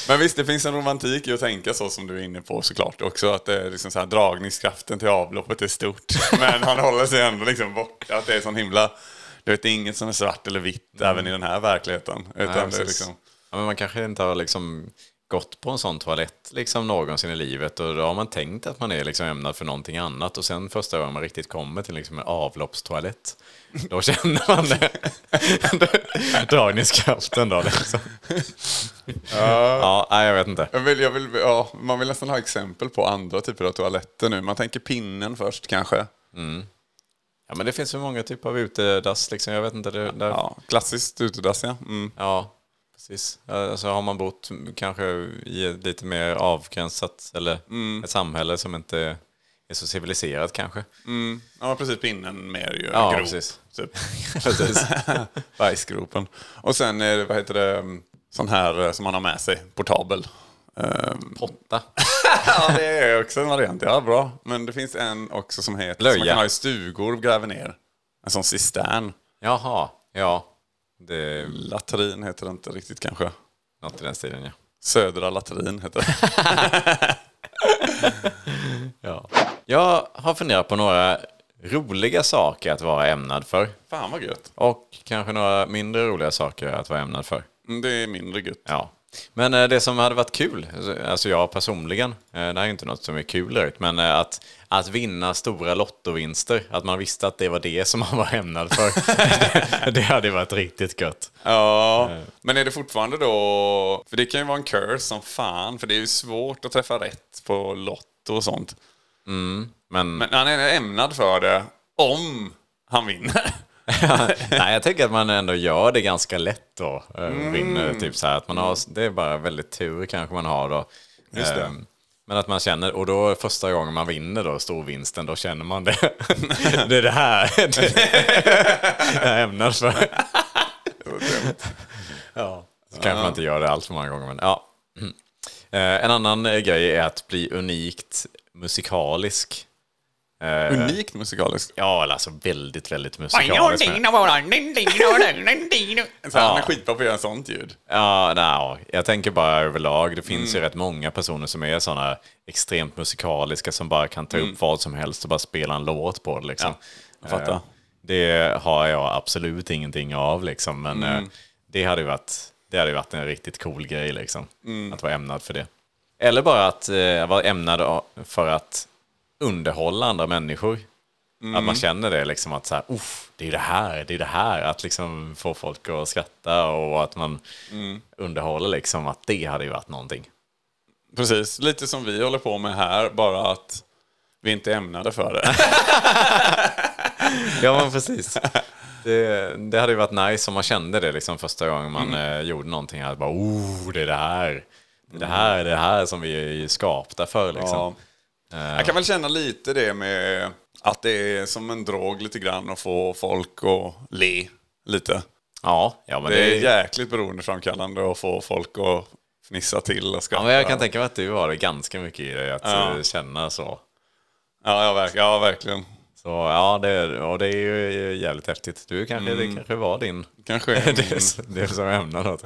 [SPEAKER 4] Men visst, det finns en romantik i att tänka så som du är inne på såklart också. Att det är liksom så här, dragningskraften till avloppet är stort. Men han håller sig ändå liksom borta. Att det är sån himla... Du vet, det är inget som är svart eller vitt även i den här verkligheten. Utan
[SPEAKER 3] Ja,
[SPEAKER 4] det är
[SPEAKER 3] precis.
[SPEAKER 4] liksom...
[SPEAKER 3] ja, men man kanske inte har liksom gått på en sån toalett liksom någonsin i livet och då har man tänkt att man är liksom ämnad för någonting annat och sen första gången man riktigt kommer till liksom en avloppstoalett då känner man det. dragningskraften då liksom. Ja, nej, jag vet inte.
[SPEAKER 4] Jag vill, jag vill, ja, man vill nästan ha exempel på andra typer av toaletter nu. Man tänker pinnen först kanske.
[SPEAKER 3] Ja, men det finns så många typer av utedass liksom. Jag vet inte. Det, där.
[SPEAKER 4] Ja, klassiskt utedass ja. Mm.
[SPEAKER 3] Ja, precis. Alltså har man bott kanske i ett lite mer avgränsat eller ett samhälle som inte är så civiliserat kanske.
[SPEAKER 4] Ja, precis. Pinnen mer ju.
[SPEAKER 3] Ja,
[SPEAKER 4] grop,
[SPEAKER 3] precis.
[SPEAKER 4] Typ.
[SPEAKER 3] Precis.
[SPEAKER 4] Bajsgropen. Och sen är det, vad heter det, mm, sån här eh, som man har med sig, portabel. Ehm,
[SPEAKER 3] Potta.
[SPEAKER 4] ja, det är också en variant. Ja, bra. Men det finns en också som heter, som man
[SPEAKER 3] Löja.
[SPEAKER 4] kan ha i stugor och gräver ner. En sån cistern.
[SPEAKER 3] Jaha, ja. Det är
[SPEAKER 4] Latrin heter det inte riktigt kanske.
[SPEAKER 3] något i den stilen ja.
[SPEAKER 4] Södra latrin heter det.
[SPEAKER 3] ja. Jag har funderat på några roliga saker att vara ämnad för.
[SPEAKER 4] Fan vad gött.
[SPEAKER 3] Och kanske några mindre roliga saker att vara ämnad för.
[SPEAKER 4] Mm, Det är mindre gött.
[SPEAKER 3] Ja. Men eh, det som hade varit kul, alltså- alltså jag personligen, eh, det här är ju inte något som är kul ut, men eh, att, att vinna stora lottovinster, att man visste att det var det som man var ämnad för, det, det hade varit riktigt gött.
[SPEAKER 4] Ja, men är det fortfarande då... För det kan ju vara en curse som fan, för det är ju svårt att träffa rätt på Lotto och sånt.
[SPEAKER 3] Men,
[SPEAKER 4] Men han är ämnad för det om han vinner.
[SPEAKER 3] nej, jag tänker att man ändå gör det ganska lätt då, eh, vinner, typ så här, att man har, det är bara väldigt tur kanske man har då. Just
[SPEAKER 4] det.
[SPEAKER 3] Men att man känner, och då första gången man vinner då storvinsten, då känner man det. det är det här jag är ämnad för. Ja. Så kanske man inte gör det allt för många gånger. Men, ja. Mm. Eh, en annan eh, grej är att bli unikt musikalisk.
[SPEAKER 4] Unikt musikaliskt.
[SPEAKER 3] Ja, eller alltså väldigt, väldigt musikalisk. men-
[SPEAKER 4] Så Han är skitbra på att göra sånt ljud.
[SPEAKER 3] Ja, no, jag tänker bara överlag. Det finns ju rätt många personer som är sådana extremt musikaliska som bara kan ta upp vad som helst och bara spela en låt på det. Liksom.
[SPEAKER 4] jag fattar.
[SPEAKER 3] Eh, Det har jag absolut ingenting av, liksom, men eh, det hade ju varit Det hade ju varit en riktigt cool grej liksom. Att vara ämnad för det. Eller bara att eh, vara ämnad a- för att underhålla andra människor. Att man känner det liksom att så här, Uff, det är det här, det är det här. Att liksom få folk att skratta och att man underhåller liksom att det hade ju varit någonting.
[SPEAKER 4] Precis, lite som vi håller på med här, bara att vi inte är ämnade för det.
[SPEAKER 3] Ja men precis. Det, det hade ju varit nice om man kände det liksom första gången man
[SPEAKER 4] Mm.
[SPEAKER 3] eh, gjorde någonting. Att bara, oh, det är det här. Det är det här, det är det här som vi är ju skapta för liksom.
[SPEAKER 4] Ja. Jag kan väl känna lite det med att det är som en drog lite grann att få folk att le lite.
[SPEAKER 3] Ja, ja men det,
[SPEAKER 4] Det är
[SPEAKER 3] är
[SPEAKER 4] jäkligt beroendeframkallande att få folk att fnissa till och skratta.
[SPEAKER 3] ja, men Jag kan tänka mig att du har det ganska mycket i dig, att
[SPEAKER 4] Ja.
[SPEAKER 3] eh, känna så.
[SPEAKER 4] Ja, ja, verk- ja, verkligen.
[SPEAKER 3] Så ja, det, och det är ju jävligt häftigt. Du kanske,
[SPEAKER 4] Mm.
[SPEAKER 3] Det kanske var din...
[SPEAKER 4] Kanske är
[SPEAKER 3] det,
[SPEAKER 4] min...
[SPEAKER 3] är- det är som ämnar något.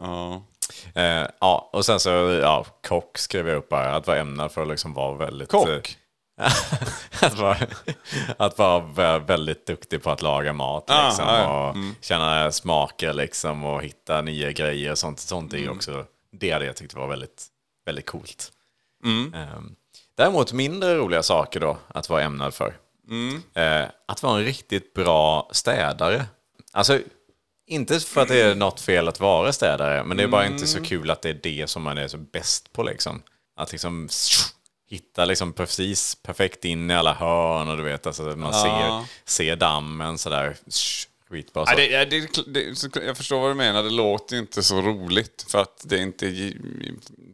[SPEAKER 4] ja.
[SPEAKER 3] Eh, ja, och sen så, ja, kock skrev jag upp här. Att vara ämnad för att liksom vara väldigt...
[SPEAKER 4] Kock?
[SPEAKER 3] eh, att, vara, att vara vä- väldigt duktig på att laga mat
[SPEAKER 4] Ah,
[SPEAKER 3] liksom,
[SPEAKER 4] ja, ja.
[SPEAKER 3] och känna smaker liksom, och hitta nya grejer och sånt. sånt är ju
[SPEAKER 4] Mm.
[SPEAKER 3] också, det hade jag tyckt var väldigt, väldigt coolt. Ehm, Däremot mindre roliga saker då att vara ämnad för. Eh, Att vara en riktigt bra städare. Alltså, inte för att det är något fel att vara städare, men det är bara inte så kul att det är det som man är så bäst på liksom. Att liksom hitta liksom precis perfekt in i alla hörn och du vet, alltså man ser, ser dammen sådär. Skitbra så.
[SPEAKER 4] Ja, det, ja, det, det, så- jag förstår vad du menar, det låter ju inte så roligt. För att det är inte...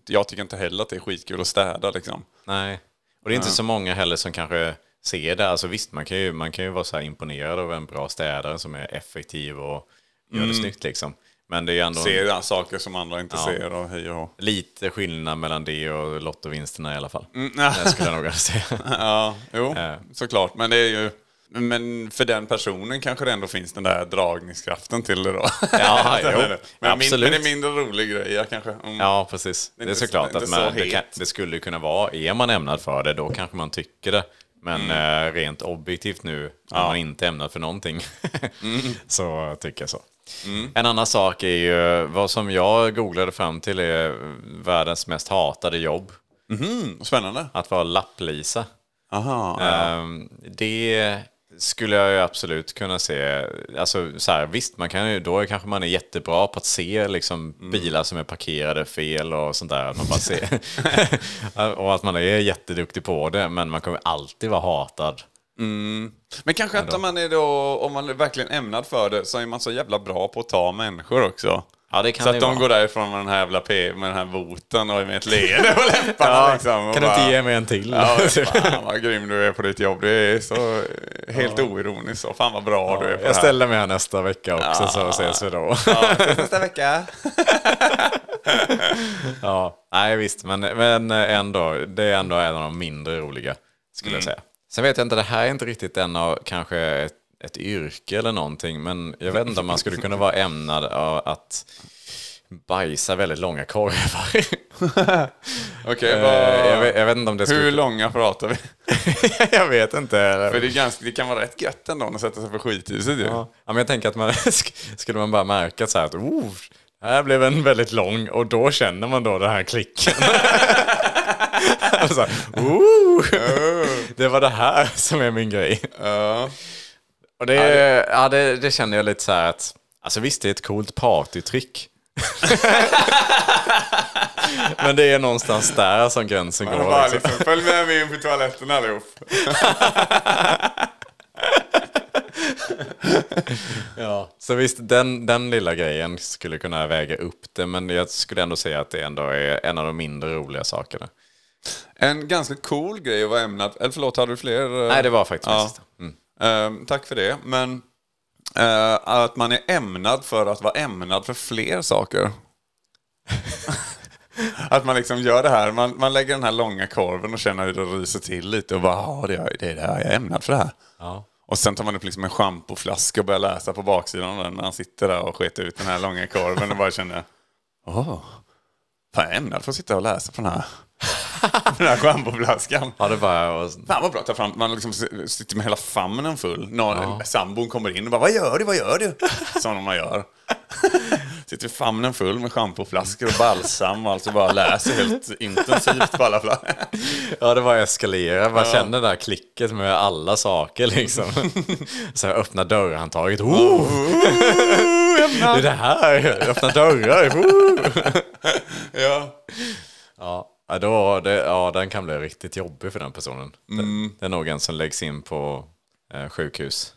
[SPEAKER 4] Jag tycker inte heller att det är skitkul att städa liksom.
[SPEAKER 3] Nej, och det är inte så många heller som kanske ser det. Alltså visst, man kan ju, man kan ju vara så här imponerad av en bra städare som är effektiv och gör det snyggt liksom. Men det är ju ändå
[SPEAKER 4] Ser ja, saker som andra inte ser och hej och hå.
[SPEAKER 3] lite skillnad mellan det och lottovinsterna i alla fall.
[SPEAKER 4] ja.
[SPEAKER 3] Det skulle jag nog vilja säga.
[SPEAKER 4] Ja, jo,
[SPEAKER 3] Eh.
[SPEAKER 4] såklart. Men det är ju... Men för den personen kanske det ändå finns den där dragningskraften till det då.
[SPEAKER 3] Ja,
[SPEAKER 4] Den
[SPEAKER 3] jo,
[SPEAKER 4] är det. men, min, men
[SPEAKER 3] absolut.
[SPEAKER 4] det är mindre rolig grejer kanske. Mm.
[SPEAKER 3] Ja, precis. Det är
[SPEAKER 4] inte så-
[SPEAKER 3] såklart
[SPEAKER 4] det är
[SPEAKER 3] att
[SPEAKER 4] inte så
[SPEAKER 3] man, det,
[SPEAKER 4] het.
[SPEAKER 3] kan, det skulle ju kunna vara, är man ämnad för det, då kanske man tycker det. Men
[SPEAKER 4] Mm.
[SPEAKER 3] eh, rent objektivt nu, när man inte är ämnad för någonting,
[SPEAKER 4] Mm.
[SPEAKER 3] så tycker jag så. En annan sak är ju, vad som jag googlade fram till är världens mest hatade jobb.
[SPEAKER 4] Spännande.
[SPEAKER 3] Att vara lapplisa.
[SPEAKER 4] Aha,
[SPEAKER 3] Ehm, det skulle jag ju absolut kunna se. Alltså, så här, visst, man kan ju, då kanske man är jättebra på att se liksom,
[SPEAKER 4] Mm.
[SPEAKER 3] bilar som är parkerade fel och sånt där. Att man bara ser. och att man är jätteduktig på det, men man kommer alltid vara hatad.
[SPEAKER 4] Men kanske att man är då, om man är verkligen ämnad för det, så är man så jävla bra på att ta människor också.
[SPEAKER 3] Ja, det kan
[SPEAKER 4] så
[SPEAKER 3] det
[SPEAKER 4] att de
[SPEAKER 3] vara.
[SPEAKER 4] går därifrån med den här jävla P, med den här voten och med ett leende på läpparna liksom. och
[SPEAKER 3] kan du inte
[SPEAKER 4] bara-
[SPEAKER 3] ge mig en till?
[SPEAKER 4] Ja, fan vad grym du är på ditt jobb. Det är så helt oironiskt. så. Fan vad bra du är på det
[SPEAKER 3] jag
[SPEAKER 4] här.
[SPEAKER 3] ställer mig här nästa vecka också, så ses vi då.
[SPEAKER 4] Nästa vecka.
[SPEAKER 3] Ja, nej visst, men, men ändå, det är ändå en av de mindre roliga, skulle
[SPEAKER 4] Mm.
[SPEAKER 3] jag säga. Sen vet jag inte, det här är inte riktigt en av kanske ett, ett yrke eller någonting, men jag vet inte om man skulle kunna vara ämnad av att bajsa väldigt långa korvar.
[SPEAKER 4] Okej,
[SPEAKER 3] Eh,
[SPEAKER 4] vad-
[SPEAKER 3] jag, vet, jag vet inte om det skulle...
[SPEAKER 4] hur långa pratar vi?
[SPEAKER 3] jag vet inte.
[SPEAKER 4] För det, är ganska, det kan vara rätt gött ändå att sätta sig på skithuset ju.
[SPEAKER 3] Ja, men jag tänker att man sk- skulle man bara märka så här att oh, det här blev en väldigt lång och då känner man då den här klicken. Och så här, oh, det var det här som är min grej. Och det, ja, det, det känner jag lite så här att, alltså visst det är ett coolt partytrick. Men det är någonstans där som gränsen
[SPEAKER 4] Och
[SPEAKER 3] går.
[SPEAKER 4] bara
[SPEAKER 3] Liksom.
[SPEAKER 4] liksom, följ med mig in på toaletten allihop.
[SPEAKER 3] Ja, så visst, den, den lilla grejen skulle kunna väga upp det, men jag skulle ändå säga att det ändå är en av de mindre roliga sakerna.
[SPEAKER 4] En ganska cool grej att vara ämnad... Eller förlåt, hade du fler? eh?
[SPEAKER 3] Nej, det var faktiskt
[SPEAKER 4] Ja.
[SPEAKER 3] min sista. Mm.
[SPEAKER 4] Ehm, tack för det. Men eh, att man är ämnad för att vara ämnad för fler saker. att man liksom gör det här, man, man lägger den här långa korven och känner hur det ryser till lite och bara ja, det är det, är det här, jag är ämnad för det här.
[SPEAKER 3] Ja.
[SPEAKER 4] Och sen tar man upp liksom en schampoflaska och börjar läsa på baksidan av den när han sitter där och sketar ut den här långa korven och bara känner åh, fan jag är ämnad för att sitta och läsa på den här, på den här schampoflaskan.
[SPEAKER 3] ja, det bara... Och,
[SPEAKER 4] Fan vad bra att ta fram, man liksom s- sitter med hela famnen full. Någon, Sambon kommer in och bara, vad gör du, vad gör du? Som man gör. Sitter i famnen full med schampoflaskor och balsam och alltså bara läser helt intensivt på alla flaskor.
[SPEAKER 3] Ja, det bara eskalerar. Man känner det där klicket med alla saker liksom. Så här, öppna dörrhandtaget. Oh! det är det här! Öppna dörrar! Oh!
[SPEAKER 4] Ja.
[SPEAKER 3] Ja, ja, då, det, ja, den kan bli riktigt jobbig för den personen. Den, den organ som läggs in på eh, sjukhus.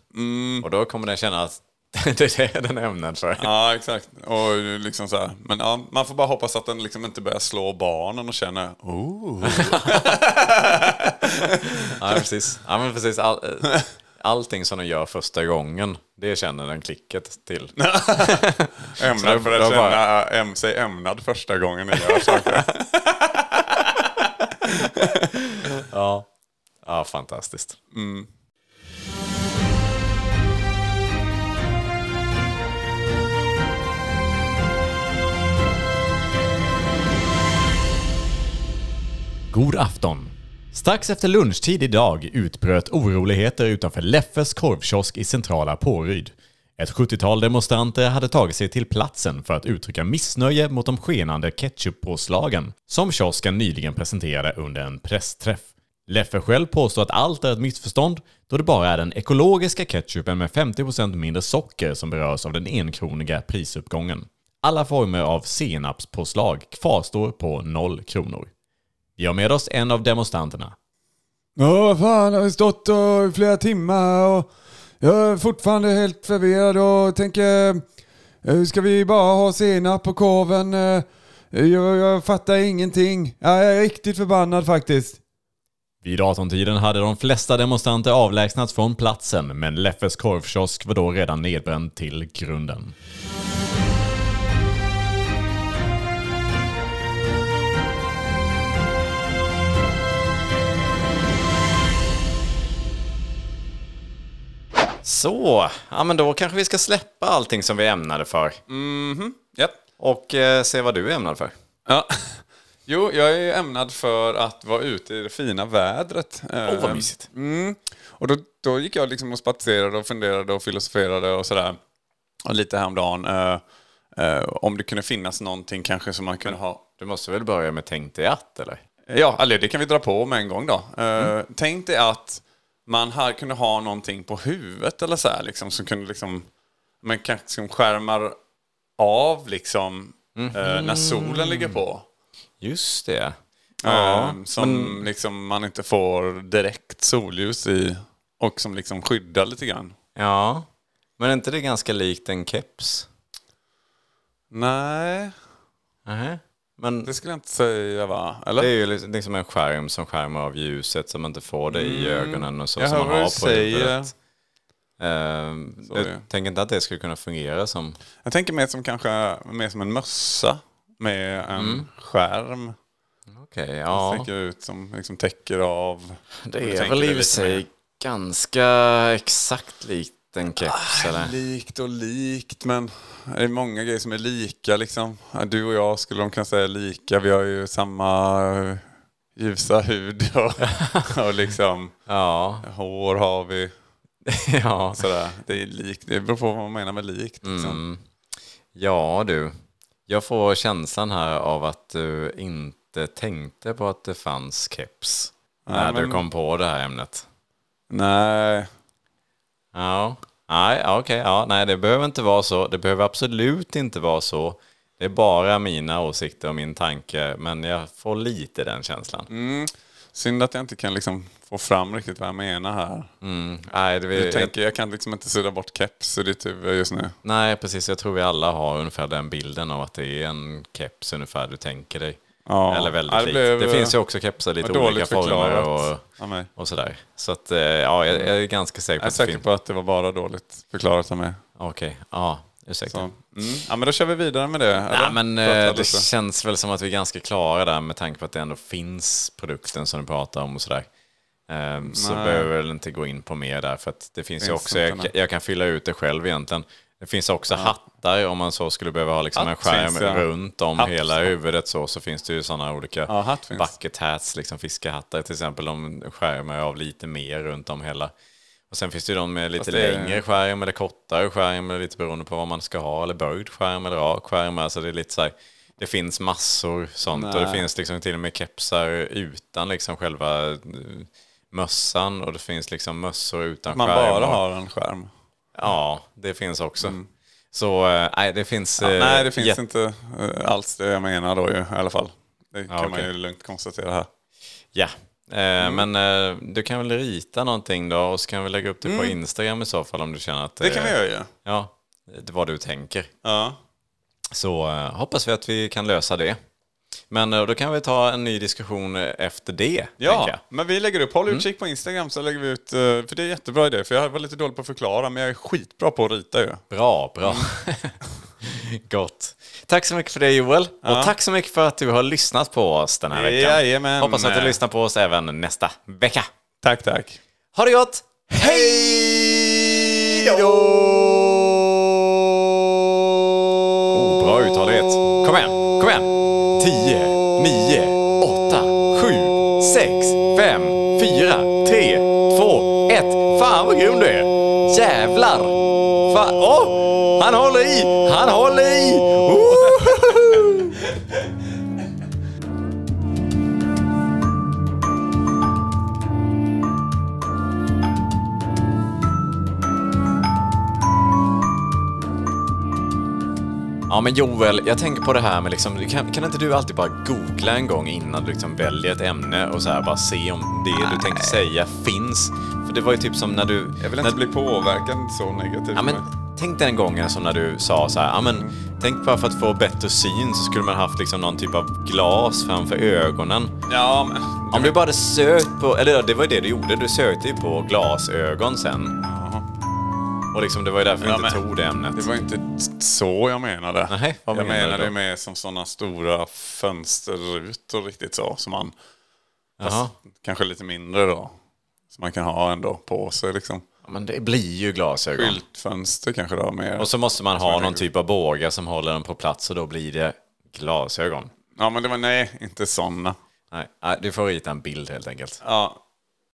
[SPEAKER 3] Och då kommer den känna att det är det den är ämnad för.
[SPEAKER 4] ja, exakt. Och liksom så här. Men ja, man får bara hoppas att den liksom inte börjar slå barnen och känner oh.
[SPEAKER 3] Ja, precis. Ja, men precis. All, eh, allting som de gör första gången, det känner den klicket till.
[SPEAKER 4] Ämnad för att
[SPEAKER 3] då bara-
[SPEAKER 4] känna äm, sig ämnad första gången ni gör saker.
[SPEAKER 3] Ja, ja fantastiskt. God afton. Strax efter lunchtid idag utbröt oroligheter utanför Leffes korvkiosk i centrala Påryd. Ett 70-tal demonstranter hade tagit sig till platsen för att uttrycka missnöje mot de skenande ketchuppåslagen som kiosken nyligen presenterade under en pressträff. Leffe själv påstår att allt är ett missförstånd då det bara är den ekologiska ketchupen med 50% mindre socker som berörs av den enkroniga prisuppgången. Alla former av senapspåslag kvarstår på 0 kronor. Vi har med oss en av demonstranterna.
[SPEAKER 6] Ja, vad fan, jag har stått och, i flera timmar och jag är fortfarande helt förvirrad och tänker, eh, ska vi bara ha senap på korven? Eh, Jag, jag fattar ingenting. Ja, Jag är riktigt förbannad faktiskt.
[SPEAKER 3] Vid 18-tiden hade de flesta demonstranter avlägsnats från platsen, men Leffes korvkiosk var då redan nedbränd till grunden. Så, ja men då kanske vi ska släppa allting som vi ämnade för.
[SPEAKER 4] Japp.
[SPEAKER 3] Och eh, se vad du är ämnad för.
[SPEAKER 4] Ja. Jo, jag är ämnad för att vara ute i det fina vädret. Åh,
[SPEAKER 3] vad mysigt.
[SPEAKER 4] Mm. Och då, då gick jag liksom och spatserade och funderade och filosoferade och sådär. Och lite häromdagen. eh, eh, om det kunde finnas någonting kanske som man kunde ha.
[SPEAKER 3] Du måste väl börja med tänk dig att, eller?
[SPEAKER 4] Ja, eller det kan vi dra på med en gång då. Eh, Tänk dig att man här kunde ha någonting på huvudet eller så här, liksom, som kunde liksom... Men kanske som skärmar av liksom eh, när solen ligger på.
[SPEAKER 3] Just det.
[SPEAKER 4] Ehm, som liksom man inte får direkt solljus i och som liksom skyddar lite grann.
[SPEAKER 3] Ja, men är inte det ganska likt en keps?
[SPEAKER 4] Nej,
[SPEAKER 3] Nej. Men
[SPEAKER 4] det skulle jag inte säga va? Eller?
[SPEAKER 3] det är ju liksom liksom en skärm som skärmar av ljuset så man inte får det i ögonen och så
[SPEAKER 4] Mm. jag
[SPEAKER 3] som
[SPEAKER 4] hör
[SPEAKER 3] man
[SPEAKER 4] vad du
[SPEAKER 3] har på
[SPEAKER 4] säger.
[SPEAKER 3] huvudet. Ehm,
[SPEAKER 4] Så är det.
[SPEAKER 3] jag tänker inte att det skulle kunna fungera som...
[SPEAKER 4] Jag tänker mer som kanske mer som en mössa med en skärm.
[SPEAKER 3] Okej,
[SPEAKER 4] Ja.
[SPEAKER 3] ja.
[SPEAKER 4] Sticker ut som liksom täcker av. Om du
[SPEAKER 3] Det är
[SPEAKER 4] tänker
[SPEAKER 3] väl i och
[SPEAKER 4] dig
[SPEAKER 3] för
[SPEAKER 4] lite
[SPEAKER 3] sig ganska exakt likt en keps,
[SPEAKER 4] mer.
[SPEAKER 3] eller?
[SPEAKER 4] Likt och likt men det är många grejer som är lika liksom. Ja, Du och jag skulle de kunna säga är lika. Vi har ju samma eh, ljusa hud och, och liksom
[SPEAKER 3] Ja,
[SPEAKER 4] hår har vi.
[SPEAKER 3] ja.
[SPEAKER 4] Sådär. Det, är likt, det beror på vad man menar med likt. Liksom.
[SPEAKER 3] Mm. Ja du, jag får känslan här av att du inte tänkte på att det fanns keps när du
[SPEAKER 4] men-
[SPEAKER 3] kom på det här ämnet.
[SPEAKER 4] Nej.
[SPEAKER 3] Ja, nej, ja, okej, ja, nej, det behöver inte vara så. Det behöver absolut inte vara så. Det är bara mina åsikter och min tanke, men jag får lite den känslan.
[SPEAKER 4] Mm. Synd att jag inte kan liksom få fram riktigt vad jag menar här.
[SPEAKER 3] Mm. Nej, det,
[SPEAKER 4] Jag,
[SPEAKER 3] jag,
[SPEAKER 4] tänker, jag kan liksom inte sudda bort keps i ditt huvud typ, eh, just nu.
[SPEAKER 3] nej, precis. Jag tror vi alla har ungefär den bilden av att det är en keps ungefär du tänker dig.
[SPEAKER 4] Ja.
[SPEAKER 3] Eller väldigt
[SPEAKER 4] Ja, det
[SPEAKER 3] likt.
[SPEAKER 4] blev,
[SPEAKER 3] det finns ju
[SPEAKER 4] eh,
[SPEAKER 3] också kepsar lite
[SPEAKER 4] vad dåligt
[SPEAKER 3] olika former
[SPEAKER 4] förklarat.
[SPEAKER 3] och...
[SPEAKER 4] av mig.
[SPEAKER 3] och sådär. Så att, eh, ja, jag, jag är ganska säker på
[SPEAKER 4] Jag är
[SPEAKER 3] att det
[SPEAKER 4] säker
[SPEAKER 3] finns.
[SPEAKER 4] på att det var bara dåligt förklarat av mig.
[SPEAKER 3] Okej, ja,
[SPEAKER 4] Så.
[SPEAKER 3] ursäkta.
[SPEAKER 4] Mm. Ja, men då kör vi vidare med det. eller?
[SPEAKER 3] Ja, men eh,
[SPEAKER 4] Prata
[SPEAKER 3] det
[SPEAKER 4] lite.
[SPEAKER 3] känns väl som att vi är ganska klara där med tanke på att det ändå finns produkten som du pratar om och sådär. Ehm, så
[SPEAKER 4] Nej.
[SPEAKER 3] behöver vi väl inte gå in på mer där för att det finns ju
[SPEAKER 4] Finns
[SPEAKER 3] också,
[SPEAKER 4] inte,
[SPEAKER 3] jag,
[SPEAKER 4] nej.
[SPEAKER 3] jag kan fylla ut det själv egentligen. Det finns också hattar om man så skulle behöva ha liksom en
[SPEAKER 4] Hatt
[SPEAKER 3] skärm
[SPEAKER 4] finns, ja.
[SPEAKER 3] runt om
[SPEAKER 4] Hatt,
[SPEAKER 3] hela
[SPEAKER 4] ja.
[SPEAKER 3] huvudet så, så finns det ju sådana olika
[SPEAKER 4] Ja, hatt finns.
[SPEAKER 3] bucket hats, liksom fiskehattar till exempel. De skärmar av lite mer runt om hela. Och sen finns det ju de med lite
[SPEAKER 4] Fast det är-
[SPEAKER 3] längre skärm eller kortare skärm, eller lite beroende på vad man ska ha, eller böjd skärm eller rak skärm. Alltså det är lite så här, det finns massor sånt och det
[SPEAKER 4] Nej.
[SPEAKER 3] finns liksom till och med kepsar utan liksom själva eh, mössan och det finns liksom mössor utan
[SPEAKER 4] Man
[SPEAKER 3] skärm.
[SPEAKER 4] bara
[SPEAKER 3] och-
[SPEAKER 4] har en skärm.
[SPEAKER 3] Ja, det finns också. Så eh, nej, det finns... eh,
[SPEAKER 4] Nej, det finns
[SPEAKER 3] jätte-
[SPEAKER 4] inte eh, alls det jag menar då ju, i alla fall. Det kan man
[SPEAKER 3] okej.
[SPEAKER 4] ju lugnt konstatera här.
[SPEAKER 3] Ja, eh,
[SPEAKER 4] Mm.
[SPEAKER 3] men eh, du kan väl rita någonting då och så kan vi lägga upp det på Instagram i så fall om du känner att
[SPEAKER 4] Mm.
[SPEAKER 3] eh,
[SPEAKER 4] Det kan vi göra ju.
[SPEAKER 3] Ja, det var du tänker.
[SPEAKER 4] Ja.
[SPEAKER 3] Så eh, hoppas vi att vi kan lösa det. Men eh, då kan vi ta en ny diskussion eh, efter det. tänker
[SPEAKER 4] Ja,
[SPEAKER 3] jag. Mm.
[SPEAKER 4] men vi lägger upp. Håll utkik på Instagram så lägger vi ut, eh, för det är en jättebra idé. För jag var lite dålig på att förklara, men jag är skitbra på att rita ju.
[SPEAKER 3] Bra, bra.
[SPEAKER 4] Mm.
[SPEAKER 3] Gott. Tack så mycket för det Joel. Och tack så mycket för att du har lyssnat på oss den här veckan.
[SPEAKER 4] Jajamän.
[SPEAKER 3] Hoppas att du lyssnar på oss även nästa vecka.
[SPEAKER 4] Tack, tack.
[SPEAKER 3] Ha det gott!
[SPEAKER 4] Hej då!
[SPEAKER 3] Oh, bra uttalighet. Kom igen, kom igen. 10, 9, 8, 7, 6, 5, 4, 3, 2, 1. Fan vad grym du är. Jävlar! Fan, åh! han håller i, han håller i! Woho! Ja men Joel, jag tänker på det här med liksom, kan, kan inte du alltid bara googla en gång innan du liksom väljer ett ämne och så här bara se om det du tänker säga finns? För det var ju typ som när du...
[SPEAKER 4] Jag vill
[SPEAKER 3] när,
[SPEAKER 4] inte bli påverkad så negativt.
[SPEAKER 3] Ja men tänk den gången som när du sa så här, ja men tänk bara för att få bättre syn så skulle man haft liksom någon typ av glas framför ögonen.
[SPEAKER 4] Ja, men...
[SPEAKER 3] Om du bara hade sökt på, eller ja, det var ju det du gjorde, du sökte ju på glasögon sen. Och liksom det var ju därför vi
[SPEAKER 4] Ja,
[SPEAKER 3] inte
[SPEAKER 4] men-
[SPEAKER 3] tog det ämnet.
[SPEAKER 4] Det var inte så jag menade.
[SPEAKER 3] Nej, vad
[SPEAKER 4] jag
[SPEAKER 3] menar du
[SPEAKER 4] menade
[SPEAKER 3] då?
[SPEAKER 4] med som sådana stora fönsterrutor riktigt så. Som man,
[SPEAKER 3] Jaha.
[SPEAKER 4] kanske lite mindre då. Som man kan ha ändå på sig liksom.
[SPEAKER 3] Ja, men det blir ju glasögon.
[SPEAKER 4] Skyltfönster kanske då mer.
[SPEAKER 3] Och så måste man ha
[SPEAKER 4] jag
[SPEAKER 3] någon
[SPEAKER 4] tänker.
[SPEAKER 3] typ av båge som håller den på plats och då blir det glasögon.
[SPEAKER 4] Ja men det var nej, inte sådana.
[SPEAKER 3] Nej, nej, du får rita en bild helt enkelt.
[SPEAKER 4] Ja,